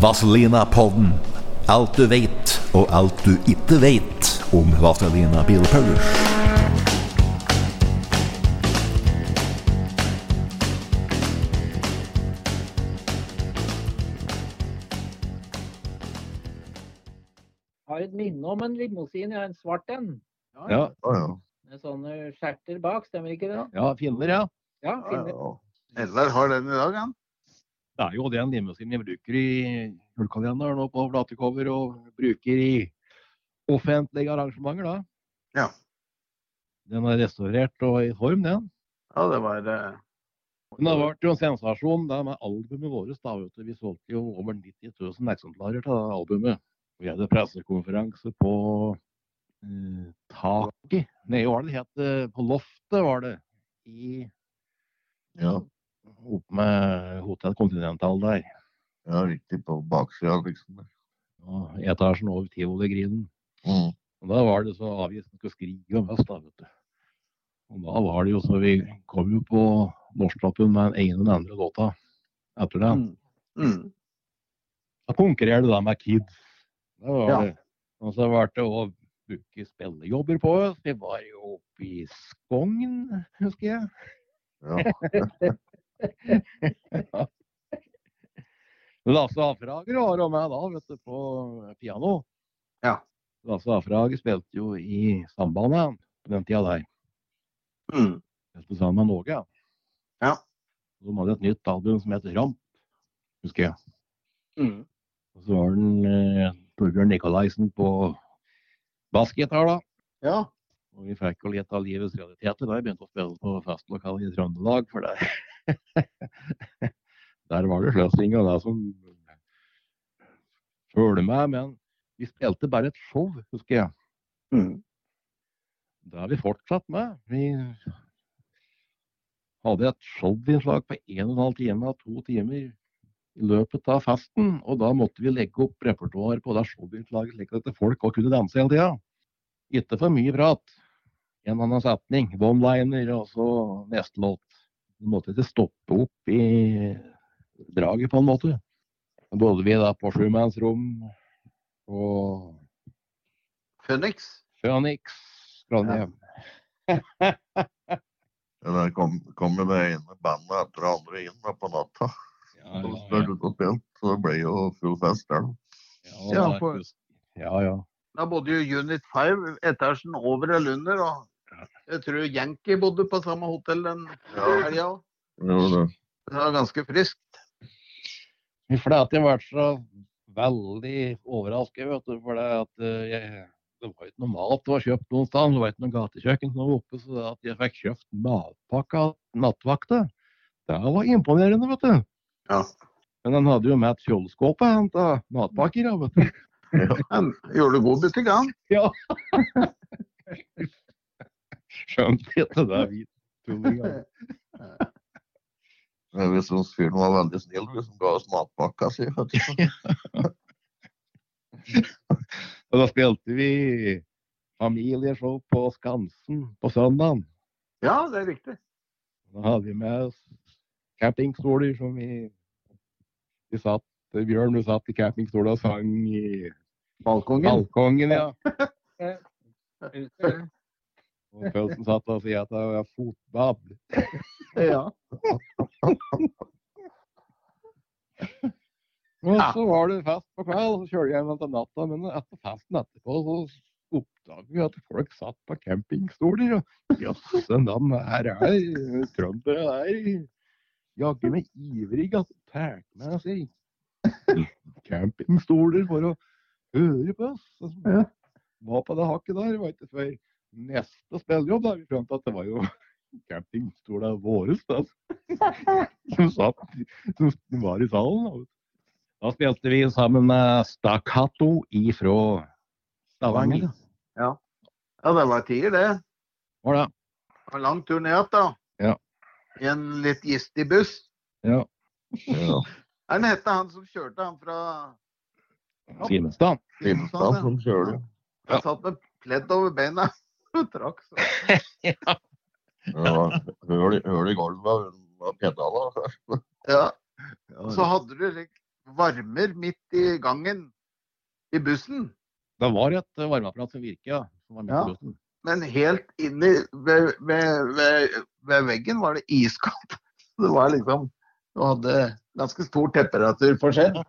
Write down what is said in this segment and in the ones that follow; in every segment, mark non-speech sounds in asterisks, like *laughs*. Vazelina-podden. Alt du veit, og alt du ikke veit om Vazelina Bilpowers. har et minne om en limousin, ja, en svart en. Ja, Med sånne skjerter bak, stemmer ikke det? ja finner, ja. Ja, Ja, finner. ja. Eldar har den i dag, han. Det er jo den limousinen jeg bruker i julekalenderen og på platecover og bruker i offentlige arrangementer, da. Ja. Den er restaurert og i form, den. Ja, det var eh, Den har vært jo en sensasjon det med albumet vårt. da, vet du. Vi solgte jo over 90 000 eksemplarer av det albumet. Vi hadde pressekonferanse på eh, taket Nei, hva var det det het? eh, På loftet, var det. I ja, Oppe med Hotell Continental der. ja, riktig på baksida, liksom. og etasjen over Tivoli-grinen. Mm. Og Da var det så avisen skulle skrive om oss, da, vet du. Og da var det jo så Vi kom jo på norsktoppen med den ene og den andre låta etter det. Mm. Da konkurrerer du da med Kids. Det var Ja. det. Og så ble det å bruke spillejobber på oss. Vi var jo oppe i Skogn, husker jeg. Ja. Lasse Afrager var jo med da, vet du, på piano. Ja. Lasse Afrager spilte jo i sambandet på den tida der. Mm. Spilte sammen med Norge. Ja. De hadde et nytt album som het Ramp, husker jeg. Mm. Og så var den eh, Torbjørn Nikolaisen på bassgitar, da. ja. Og vi fikk jo litt av livets realiteter da jeg begynte å spille på festlokalet i Trøndelag. For der, der *laughs* var det sløsing og det som følte meg. Men vi spilte bare et show, husker jeg. Mm. Det har vi fortsatt med. Vi hadde et showinnslag på en og en halv time, to timer i løpet av festen. Og da måtte vi legge opp repertoar på det showinnslaget slik at folk også kunne danse hele tida. Ikke for mye prat. En annen setning, one-liner, og så neste låt. Vi måtte ikke stoppe opp i draget, på en måte. Da bodde vi da på sjumannsrom og Phoenix. Phoenix, Trondheim. Ja, der kom, kom jo det ene bandet etter det andre inn da, på natta. Ja, Og ja, ja. spilte ut og spilte, så det ble jo full fest der. da. Ja, Ja, det er for- just- ja, ja. Da bodde jo Unit 5 etasjen over eller under, og jeg tror Yankee bodde på samme hotell den helga. Det var ganske friskt. Vi flette har vært så veldig overrasket, vet du, for det at eh, jeg, det var ikke noe mat det var kjøpt noen sted. Det var ikke noe gatekjøkken som var oppe, så det at jeg fikk kjøpt matpakke av nattvakta, det var imponerende, vet du. Ja. Men han hadde jo med et kjøleskåp og hentet matpakker, ja, vet du. *laughs* Han gjorde god butikk, han. Skjønte ikke det, vi tullinger. Vi syntes fyren var veldig snill, vi som ga oss matpakka si. vet du. Og da spilte vi familieshow på Skansen på søndagen. Ja, det er riktig. Da hadde vi med oss campingstoler som vi, vi satt Bjørn, du satt i campingstolen og sang i Balkongen. balkongen, ja. Husker du? Og Pølsen satt og sa at det var fotbad. Ja. Og så var det fest på kveld, så kjørte jeg hjem til natta. Men etter festen etterpå så oppdaget vi at folk satt på campingstoler. Og jøssen dam, her er eh, trøndere der. Jaggu meg ivrig at de tar med seg campingstoler for å høre på oss. var på det hakket der, var ikke før neste spillejobb. da Vi skjønte at det var jo campingstola våre da, som, satt, som var i salen. da. Da spilte vi sammen med Stakkato ifra Stavanger. Ja, det var tider, det. Var det? Det var lang tur ned igjen, da. Ja. I en litt giftig buss. Ja. *laughs* Ja. Hva het han som kjørte han fra Simenstad. Finstad som kjører. Han satt med pledd over beina *laughs* og trakk. Så. Ja, høl, i- høl i gulvet og pedala. Ja. Og så hadde du like, varmer midt i gangen i bussen, Det var et eh, varmeapparat som virket, ja. Som var midt Ja. i bussen. men helt inni ved, ved, ved, ved veggen var det iskaldt. *laughs* Så Det var liksom Du hadde ganske stor temperaturforskjell.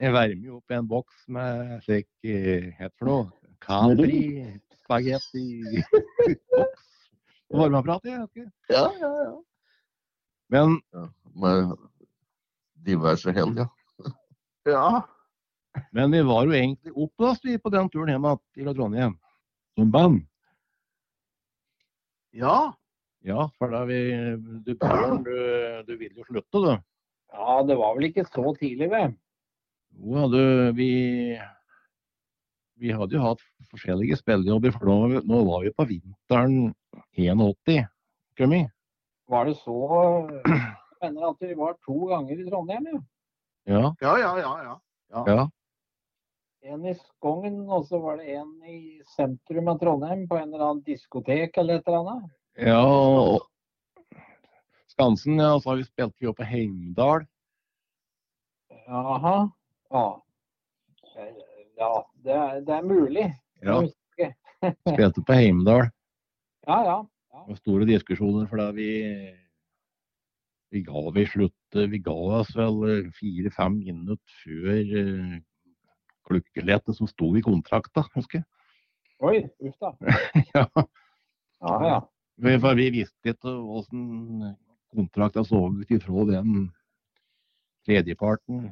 Jeg varmer jo opp en boks med slik eh, het for noe Capri spagetti *laughs* boks. Varmeapparat, jeg vet ikke. Ja, ja, ja. Men Med diverse hell, ja. *laughs* ja. Men vi var jo egentlig oppblåst vi på den turen hjem igjen fra Trondheim. Som band. ja. Ja, for da vi Du, Bjørn, du, du ville jo slutte, du. Ja, det var vel ikke så tidlig, vel? Jo, ja, du, vi Vi hadde jo hatt forskjellige spillejobber, for nå, nå var vi på vinteren 81. Kømmi. Var det så *clears throat* Jeg mener at vi var to ganger i Trondheim, jo. Ja. Ja, ja, ja. ja. ja. En i Skogn, og så var det en i sentrum av Trondheim, på en eller annen diskotek eller et eller annet. Ja, og Skansen, ja. Så har vi spilt jo på Heimdal. Jaha. Ja. Ja, det er, det er mulig. Ja. Spilte på Heimdal. Ja, ja. Det var store diskusjoner, for da vi, vi ga vi slutt, vi ga oss vel fire-fem minutter før uh, klukkelettet som sto i kontrakta, husker jeg. Oi, uff da. Ja, Ja, ja. vi- for vi visste ikke hvordan kontrakta så ut ifra den tredjeparten,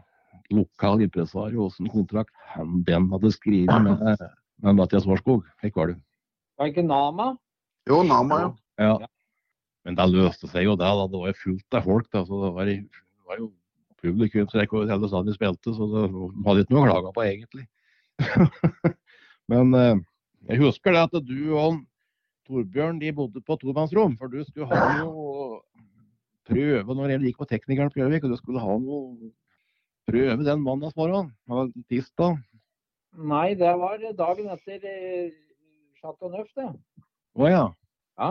lokal impresario, hvordan kontrakt han, den hadde skrevet med, med Mathias Warskog. Slik var det. Var ikke Nama? Jo, Nama, jo. Ja. Men det løste seg jo det. da. Det var jo fullt av folk. da, så Det var, det var jo publikumsrekord i hele stedet vi spilte, så det de hadde ikke noe å klage på, egentlig. *laughs* Men eh, jeg husker det at du og Torbjørn de bodde på tomannsrom, for du skulle ha noe prøve når jeg gikk på teknikeren på Gjøvik, og du skulle ha noe prøve den mandagsmorgenen. Det var Tirsdag. Nei, det var dagen etter eh, Chateau Neuf, det. Å ja. Ja,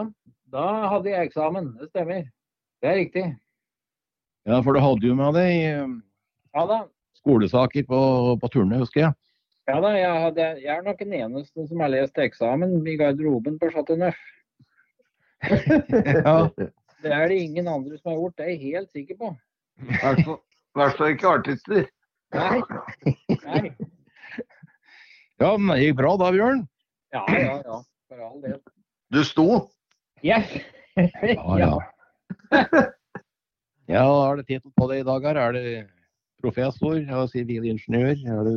da hadde jeg eksamen. Det stemmer. Det er riktig. ja. For du hadde jo med deg eh, Ja da. skolesaker på, på turné, husker jeg. *laughs* Ja da, jeg, hadde, jeg er nok den eneste som har lest eksamen i garderoben på Chateau Neuf. Ja. Det er det ingen andre som har gjort, det er jeg helt sikker på. I hvert fall- i hvert fall ikke artister. Nei. Nei. Ja, men det gikk bra da, Bjørn. Ja, ja, ja. For all del. Du sto. Ja. *laughs* ja. Ja, hva er det tittel på det i dag her? Er det professor, ja, sivilingeniør? Er du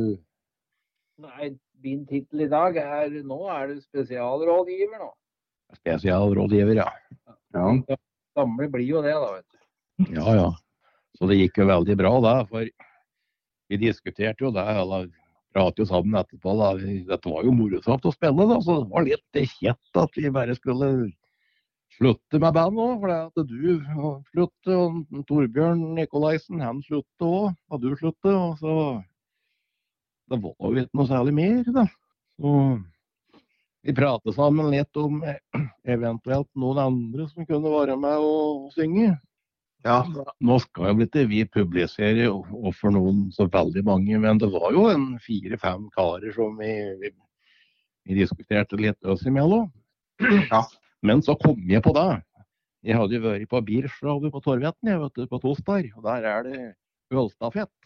Nei, min tittel i dag er Nå er du spesialrådgiver, nå. spesialrådgiver, ja. ja? Samle blir jo det, da, vet du. Ja, ja. Så det gikk jo veldig bra da, for vi diskuterte jo det, eller pratet jo sammen etterpå. da. Vi- Dette var jo morosamt å spille, da, så det var litt kjett at vi bare skulle slutte med bandet òg. For det at du slutter, og Torbjørn Nikolaisen han slutter òg, og du slutter. Og så Det var jo ikke noe særlig mer, da. Så vi pratet sammen litt om eh, eventuelt noen andre som kunne være med og synge. Ja. Nå skal jo ikke vi publisere overfor noen så veldig mange, men det var jo en fire-fem karer som vi, vi, vi diskuterte litt oss imellom. Ja. Men så kom jeg på det. Jeg hadde jo vært på Birschraube på Torvetten jeg vet du, på torsdag, og der er det ølstafett. Og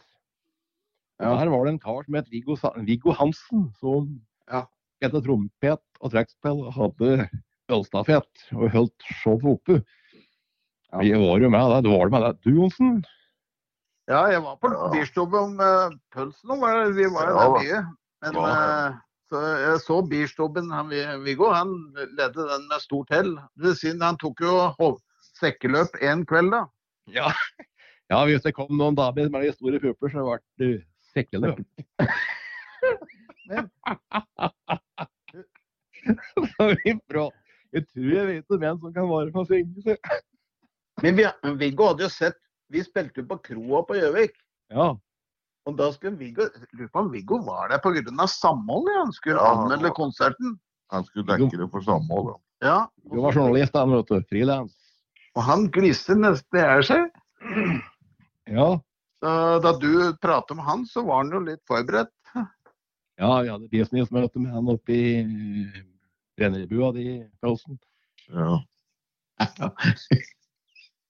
Ja. Der var det en kar som het Viggo, Sa- Viggo Hansen, som Ja. spilte trompet og trekkspill og hadde ølstafett og holdt showet oppe. Ja. Jeg var jo med, da. Du var det med deg, du Johnsen? Ja, jeg var på Ja. Birstobe om uh, pølsen nå. var det- Vi var jo Ja, der da. mye. Men Ja. eh, så Så jeg så Bierstubben, han Vi- Viggo, han ledde den med stort hell. Det vil si, han tok jo hov- sekkeløp én kveld, da. Ja. *laughs* ja, hvis det kom noen damer med de store pupper, så ble det sekkeløp. *laughs* Så vi prøv- Jeg tror jeg vet om en som kan være på svingelse. Men vi, Viggo hadde jo sett Vi spilte jo på kroa på Gjøvik. Ja. Og da skulle Viggo Lurer på om Viggo var der pga. samholdet? Han skulle Ja. anmelde konserten. Han skulle dekke det for samhold. da. Ja. Du var journalist, han, vet du. Frilans. Og han gliste nesten i hjel seg. *clears throat* Ja. Så Da du pratet med han, så var han jo litt forberedt. ja, vi hadde businessmøte med han oppe i Brenneribua, de Frozen. Ja. *laughs*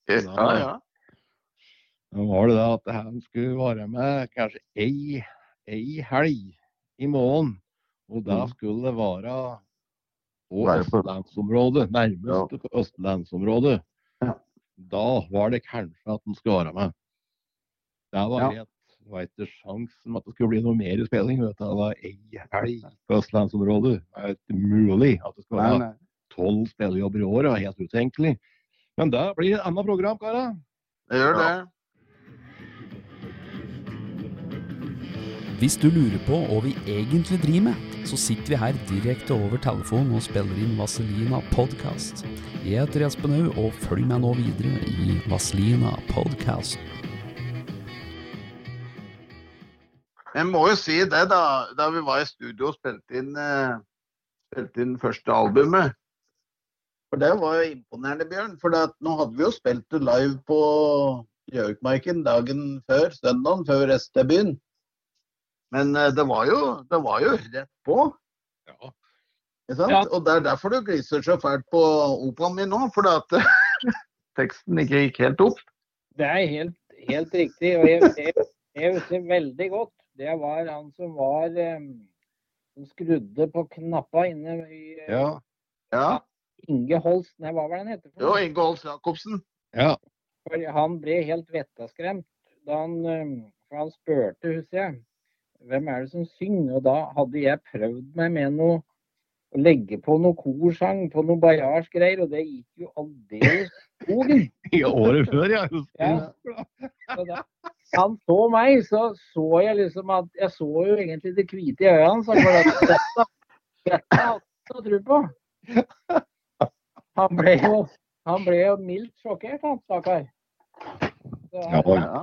Ja, ja. Da var det da at han skulle være med kanskje ei, ei helg i måneden. Og da skulle det være på Være på- østlandsområdet, nærmest på østlandsområdet. Ja. Da var det kanskje at han skulle være med. Det var Ja. helt det var ikke sjansen at det skulle bli noe mer i spilling. Vet du. Det var ei helg på østlandsområdet. Det er ikke mulig at det skal Nei, være nei. tolv spillejobber i året. Helt utenkelig. Men det blir et annet program, karer. Det gjør det. Hvis du lurer på hva vi egentlig driver med, så sitter vi her direkte over telefonen og spiller inn Vaselina Podcast. Jeg heter Espen Haug, og følg meg nå videre i Vaselina Podcast. Jeg må jo si det, da, da vi var i studio og spilte inn, eh, spilte inn første albumet. For det var jo imponerende, Bjørn. For det at nå hadde vi jo spilt det live på Gjøvikmarken dagen før, søndagen før restdebuten. Men eh, det var, jo, det var jo rett på. Ja. Ikke sant? Ja. Og det er derfor du gliser så fælt på operaen min nå, fordi at *laughs* teksten ikke gikk helt opp. Det er helt, helt riktig. Og jeg, jeg, jeg husker veldig godt. Det var han som var eh, Som skrudde på knappa inne i eh, Ja. Ja. Inge Holst. Nei, hva var det han het? Jo, Inge Holst Jacobsen. ja. For han ble helt vettaskremt da han, eh, for han spurte, husker jeg, hvem er det som synger? Og da hadde jeg prøvd meg med noe å legge på noe korsang, på noe bajarsk-greier, og det gikk jo aldeles i skogen. I året før, ja. Ja. husker jeg. Så da han så meg, så så jeg liksom at Jeg så jo egentlig det hvite i øynene hans. For at dette, dette hadde han ikke noe tro på. Han ble jo, han ble jo mildt sjokkert, han stakkar. Så Ja, han- ja.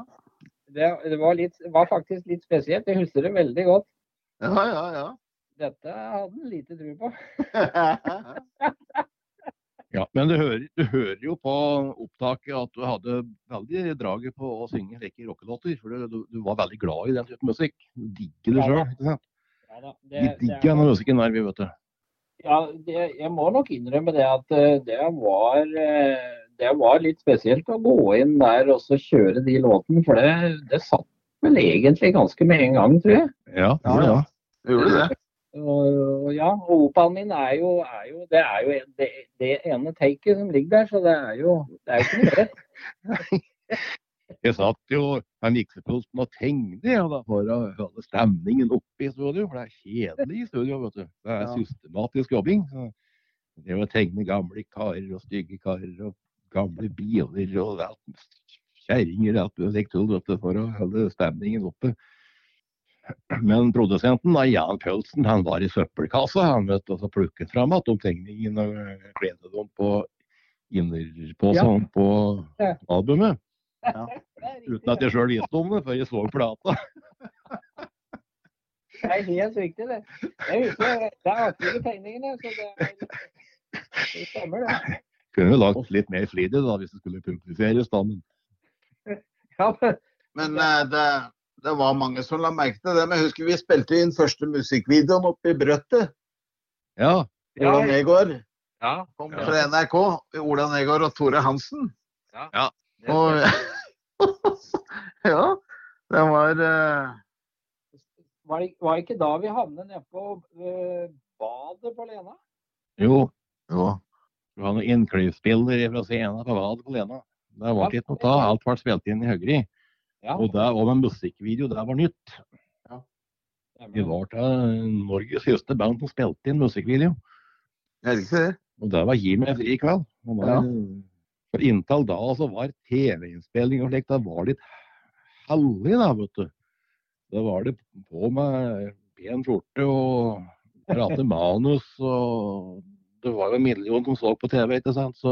Det, det var, litt, var faktisk litt spesielt. Jeg husker det veldig godt. Ja, ja, ja. Dette hadde han lite tro på. *laughs* ja. Men du hører, du hører jo på opptaket at du hadde veldig draget på å synge lekkere rockelåter. For du, du, du var veldig glad i den typen musikk. Du digger det Ja. sjøl, ikke sant? Ja, da, Vi digger den musikken der, vi, vet du. Ja, det, jeg må nok innrømme det at eh, det var, eh, det var litt spesielt å gå inn der og så kjøre de låtene, for det, det satt vel egentlig ganske med en gang, tror jeg. Ja, ja. ja. Gjorde det. Og, ja, og operaen min er jo, er jo Det er jo det, det ene taket som ligger der, så det er jo, det er jo ikke noe rett. Jeg satt jo med mikseposten og tenkte jeg, da, for å holde stemningen oppe i studio. For det er kjedelig i studio, vet du. Det er Ja. systematisk jobbing. så Det å tegne gamle karer og stygge karer og gamle biler og alt, kjerringer og alt mulig tull, vet du, for å holde stemningen oppe. Men produsenten, da, Jan Pølsen, han var i søppelkassa han vet du, og så plukket fram igjen opptegningen og kledde dem på Ja. innerposen på Ja. albumet. Det er riktig, Uten at jeg sjøl visste om det før jeg så plata. Det er helt riktig, det. Jeg husker, det er artige tegningene, så det, er, det stemmer, det. *laughs* Kunne jo lagt litt mer flid i det da, hvis det skulle publiseres. da, men Ja, men Men eh, det, det var mange som la merke til det. Men jeg husker vi spilte inn første musikkvideoen oppe i Brøttet. Ja. Ja. Ola Negård ja, kom Ja. fra NRK. Ola Negård og Tore Hansen. Ja. Og, *laughs* ja, det var eh, Var det, var det ikke da vi havnet nede på øh, badet på Lena? Jo, Jo. du har noen innklyvspiller fra scenen på Vad på Lena. Det var ikke noe ta. Alt ble spilt inn i Høgri. Ja. Og det var en musikkvideo. Det var nytt. Vi var til Norges siste band som spilte inn musikkvideo. Er det ikke det? Og det var Gi meg fri kveld. Og da, For inntil da så var TV-innspilling og slikt, det var litt hellig da, vet du. Da var det på med pen skjorte og prate manus og Det var jo en million som så på TV, ikke sant, så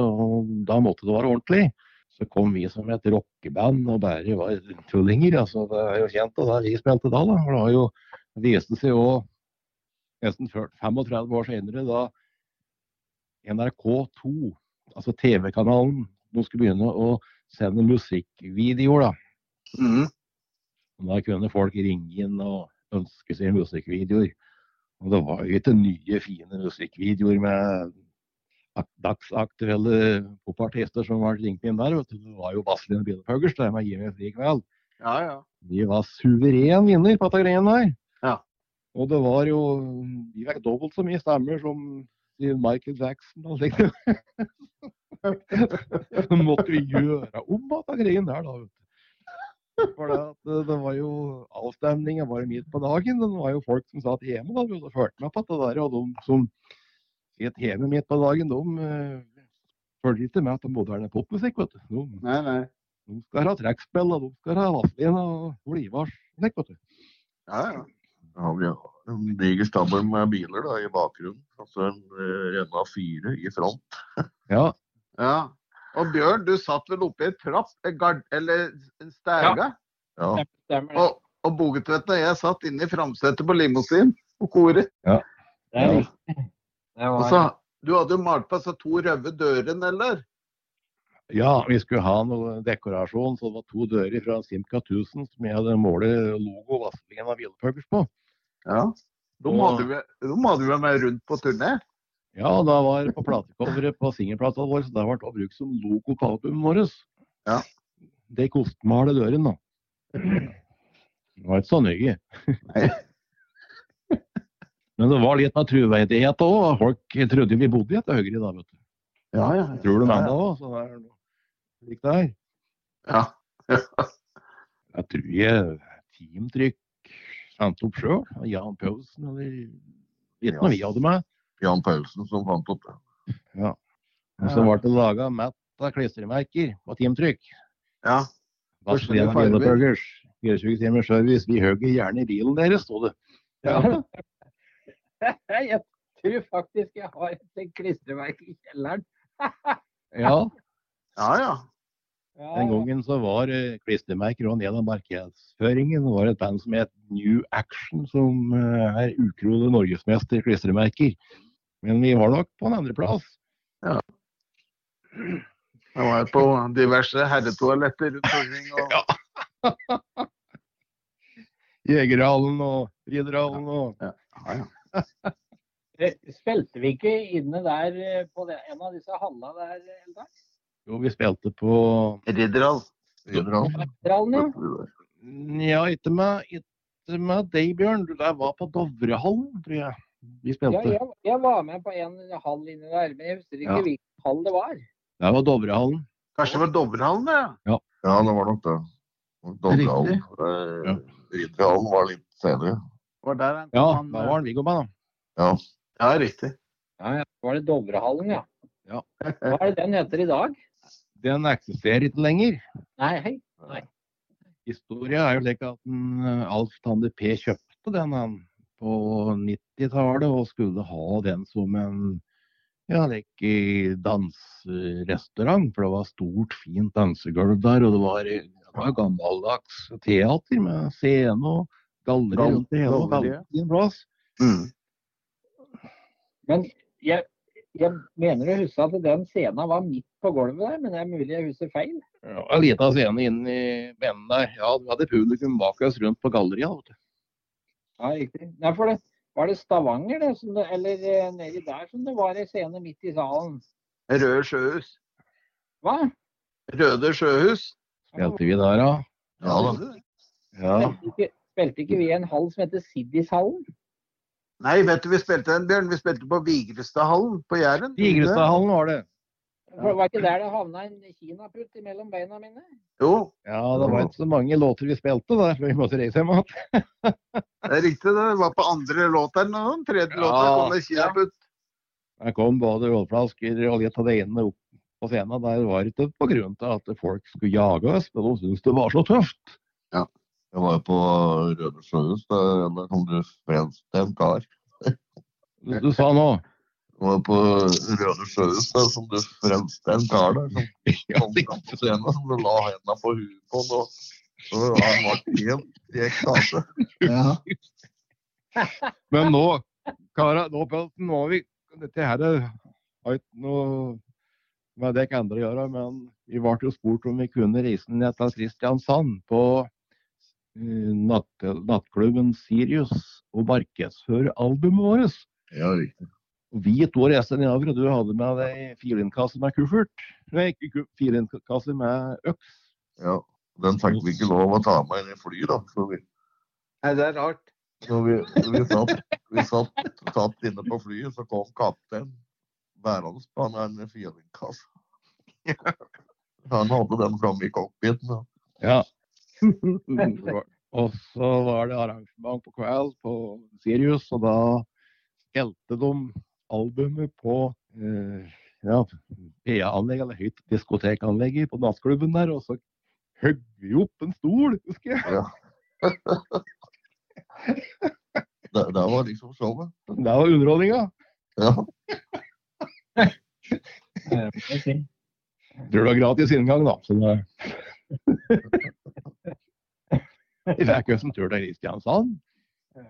da måtte det være ordentlig. Så kom vi som et rockeband og bare var tullinger. altså Det er jo kjent og det vi spilte da. da, for Det var jo, det viste seg jo nesten 40 35 år senere da NRK2, altså TV-kanalen, de skulle begynne å sende musikkvideoer. da. Mhm. Og da kunne folk ringe inn og ønske seg musikkvideoer. Og det var jo ikke nye, fine musikkvideoer med ak- dagsaktuelle popartister som var ringt inn der. Vet du. Det var jo Vazelina Bilopphøggers, det med Jimmy Fri kveld. Ja, ja. De var suveren vinner på dette greiene der. Ja. Og det var jo De fikk dobbelt så mye stemmer som Michael Jackson og *laughs* slikt. Så måtte vi gjøre om dette greiene der, da. vet du. For det, at, eh, det var jo Avstemninga var jo midt på dagen. Det var jo folk som satt hjemme da, og fulgte med på dette der. Og de som sitter hjemme midt på dagen, de uh, følger ikke med på moderne popmusikk, vet du. De, Nei, nei. de skal ha trekkspill, og de skal ha Vazelina og Olivars. Slik, vet du. Ja, ja. Da har vi en diger stabel med biler da, i bakgrunnen. Altså en eh, renne av fire i front. Ja, ja. Og Bjørn, du satt vel oppe i en trapp, en gard, eller en stæga, Ja. Stemmer det. og, og Bogetvedt og jeg satt inne i framsetet på limousin og koret. Det er Ja. riktig. Det Og var så, du hadde jo malt på så to røde dører, eller? ja, vi skulle ha noe dekorasjon, så det var to dører fra Simca 1000 som jeg hadde målet logo Vazelina Bilopphøggers på. Ja. De hadde vi, de hadde vi med rundt på turné. Ja, og da var det på platecoveret på singelplata vår, så det ble også brukt som logo på albumet vårt. Ja. Det kostmaler døren, da. Det var ikke så nøye. Nei. *laughs* Men det var litt med troverdighet òg. Folk trodde vi bodde i et høyre da, vet du. Ja, ja. Tror de ennå òg, så det er noe slik det er. Ja. *laughs* Jeg tror jeg Teamtrykk sendte opp sjøl. Jan Paulsen eller Vet ikke om vi hadde med. Jan Paulsen som fant opp det. Og så ble det laga mett av klistremerker på Teamtrykk. ja. Vazelina Forskjellige farger. Bilopphøggers. 24 timers service. Vi hogger gjerne i bilen deres, sto det. *laughs* Ja. *laughs* Jeg tror faktisk jeg har et klistreverk i kjelleren. ja. Ja, ja. Ja, Den gangen så var eh, klistremerker og en del av markedsføringen. Det var et band som het New Action, som eh, er ukronet norgesmester i klistremerker. Men vi var nok på en andreplass. Jeg var på diverse herretoaletter rundt omkring. *laughs* Og, Ja. Jegerhallen og Ridderhallen og ja, ja. eh, Spilte vi ikke inne der eh, på det, en av disse halla der? eh, Eldar? Jo, vi spilte på Ridderhall. Ridderhallen. Trallen, ja. Nja, ikke med, ikke med deg, Bjørn. Du der var på Dovrehallen, tror jeg. Vi ja spilte. jeg, jeg var med på en hall inni der, men jeg husker ikke Ja. hvilken hall det var. Det var Dovrehallen. Kanskje det var Dovrehallen, ja. Ja, det var nok det. Dovrehallen. Eh, Ridderhallen var litt senere. Var der han, Ja, han, da var han Viggo med, da. ja, riktig. Ja, Var det Dovrehallen, ja? Ja. Hva er det den heter i dag? Den eksisterer ikke lenger. Nei, hei. Historia er jo slik at den, eh, Alf Tande P kjøpte den han, på 90-tallet og skulle ha den som en ja, like, eh, danserestaurant. For det var stort, fint dansegulv der, og det var, eh, det var gammeldags teater med scene og galleri. Gal- rundt det hele, og galleri, ja. veldig fin plass. Mm. Men jeg, jeg mener å huske at den scenen var midt på gulvet der, men det er mulig jeg husker feil. Ja, En liten scene inn i benen der. Ja, vi hadde publikum bak oss rundt på galleriet. vet du. Ja, riktig. Nei, for det, var det Stavanger, det, som det, eller eh, nedi der, som det var ei scene midt i salen? Røde sjøhus. Hva? Røde sjøhus. Spilte vi der, ja. Ja da. ja. Spilte ikke, spilte ikke vi i en hall som heter Siddishallen? Nei, vet du, vi spilte den, Bjørn. Vi spilte på Vigrestadhallen på Jæren. Digrestadhallen var det. For Det var ikke der det havna en kinaputt imellom beina mine? Jo. Ja, det var ikke så mange låter vi spilte der, for vi måtte reise hjem igjen. Det er riktig, det. Det var på andre låt enn den tredje Ja. låta. Kom det kjapt ut. Der kom både ølflasker og litt av det ene opp på scenen. Der var det ikke på grunn av at folk skulle jage oss, men de syntes det var så tøft. Jeg var jo på Rødersjøhus, der der kom det brenstemt kar. Du, du sa nå Jeg var på Rødersjøhus, der som det brenstemt kar der. Som ja, kom fram på scenen, som du la hendene på huet på. den, Og så han var helt i ekstase. Men nå, kara, nå, Pelten, nå har vi Dette her er- har ikke noe med det andre å gjøre, men vi ble jo spurt om vi kunne reise ned til Kristiansand på eh, natt, nattklubben Sirius og markedsføre albumet vårt. Ja, riktig. Og Vi to reiste nedover, og du hadde med deg filinkasse med kuffert. Nei, ikke ku- filinkasse med øks. Ja. Den fikk vi ikke lov å ta med inn i flyet, da. Så vi Nei, det er rart. Når vi, vi, satt, vi satt, satt inne på flyet, så kom kapteinen bærende på han der fjellingkassen. *laughs* Han hadde den framme i cockpiten. da. Ja. og så var det arrangement på kveld på Sirius, og da spilte de albumet på eh, ja, PA-anlegg, eller høyt diskotekanlegg på nattklubben der, og så høgg vi opp en stol, husker jeg. *laughs* Det, det var liksom showet. Det var underholdninga. Ja. det må jeg si. Tror det var gratis inngang, da. Så det... *laughs* Vi fikk jo en tur til Kristiansand. ja.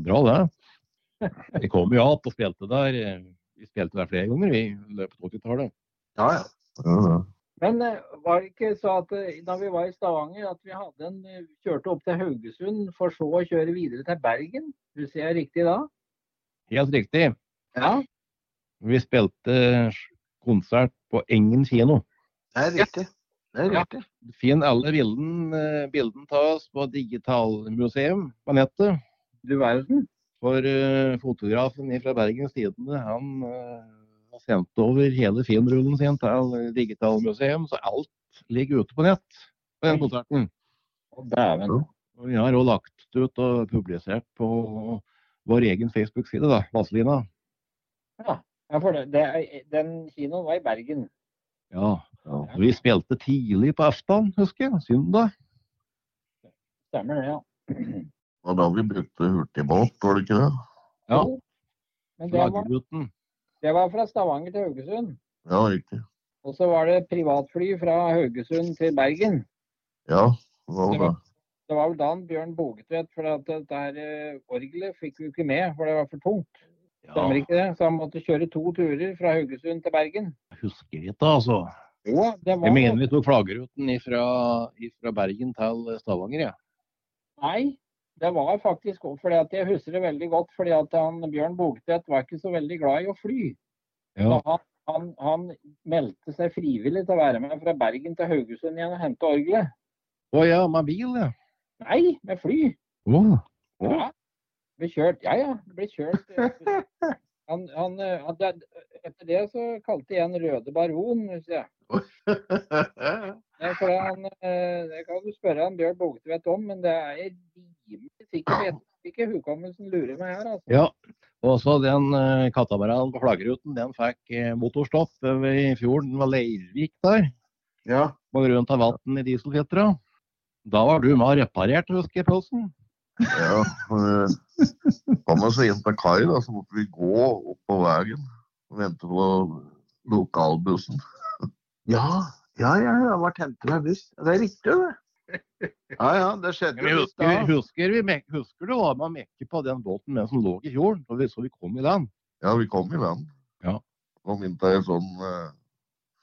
Det var bra, det. Vi kom jo att og spilte der. eh, Vi spilte der flere ganger vi i løpet av 80-tallet. Ja, ja. ja, ja. Men eh, var det ikke så at eh, da vi var i Stavanger, at vi hadde en, eh, kjørte opp til Haugesund, for så å kjøre videre til Bergen? Husker jeg riktig da? Helt riktig. Ja. Vi spilte konsert på Engen kino. Det er riktig. Det er Ja. riktig. Finn alle bilden, eh, bilden av oss på Digitalmuseum på nettet. Du verden. For eh, fotografen fra Bergens Tidende han eh, har sendt over hele filmrullen sin til Digitalmuseum, så alt ligger ute på nett på den konserten. Å, dæven. Og vi har òg lagt ut og publisert på vår egen Facebook-side, da, Vazelina. Ja, for det, det, er- den kinoen var i Bergen. Ja. og Vi spilte tidlig på Aftan, husker jeg. Søndag. Stemmer det, ja. Det var da vi brukte hurtigbåt, var det ikke det? Ja. Jo. Men det var, Flaggeruten. det var fra Stavanger til Haugesund. Ja, riktig. Og så var det privatfly fra Haugesund til Bergen. Ja, det var det. Det var vel da en Bjørn Bogetvedt, for at dette her eh, orgelet fikk vi ikke med, for det var for tungt. Ja, Stemmer ikke det? Så han måtte kjøre to turer fra Haugesund til Bergen. jeg husker ikke, altså. Jo, det var Jeg mener vi tok flaggeruten ifra, ifra Bergen til Stavanger, ja. Nei, det var faktisk også fordi at jeg husker det veldig godt. fordi at han, Bjørn Bogtvedt var ikke så veldig glad i å fly. Så han, han, han meldte seg frivillig til å være med fra Bergen til Haugesund igjen og hente orgelet. Å ja, med bil, ja. Nei, med fly. Å, Ja. Ble kjørt. Ja, ja. Ble kjørt. eh, *laughs* Han, han, eh, han, det- etter det så kalte jeg en Røde Baron, hvis jeg. Det er fordi han, eh, det kan du spørre han Bjørn Bogtvedt om, men det er jeg rimelig sikker på. Jeg tror ikke hukommelsen lurer meg her, altså. Ja. Og så den eh, katamaranen på flaggeruten, den fikk eh, motorstopp over i fjorden ved Leirvik der. Ja. På grunn av vann i dieselfiltra. Da var du med og reparert, husker jeg, Pølsen. Ja, eh, kom oss inn til kai, da, så måtte vi gå opp på veien og vente på lokalbussen. Ja, ja, ja. Jeg har vært hentet med buss. Det er riktig, det. Ja, ja. Det skjedde Vi jo litt da. husker, husker, vi, mek- husker du hva man mekke på den båten den som lå i fjorden, og vi, så vi kom i den? Ja, vi kom i land. Ja. Kom inn til ei sånn eh,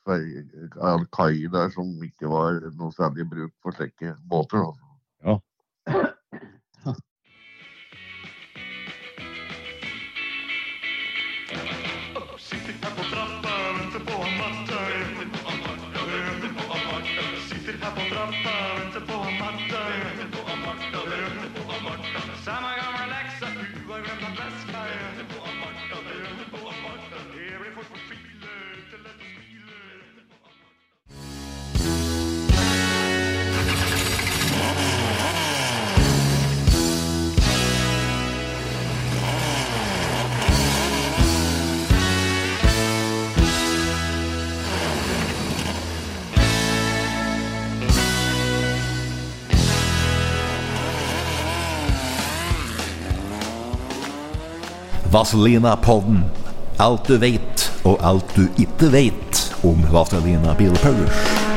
fei- eh, kai der som ikke var noe særlig bruk for slike båter. Da. Sitter her på trappa, venter på han Matta. Venter på han Matta, venter på han Matta. Sitter her på trappa, venter på han Matta. Venter på han Matta, venter på han Matta. Samme gamle leksa, du har glemt at veska. Venter på han Matta, venter på han Matta. Det blir fort fortvile, ikke lett å smile. Vazelina-podden. Alt du veit, og alt du ikke veit om Vazelina Bilpowers.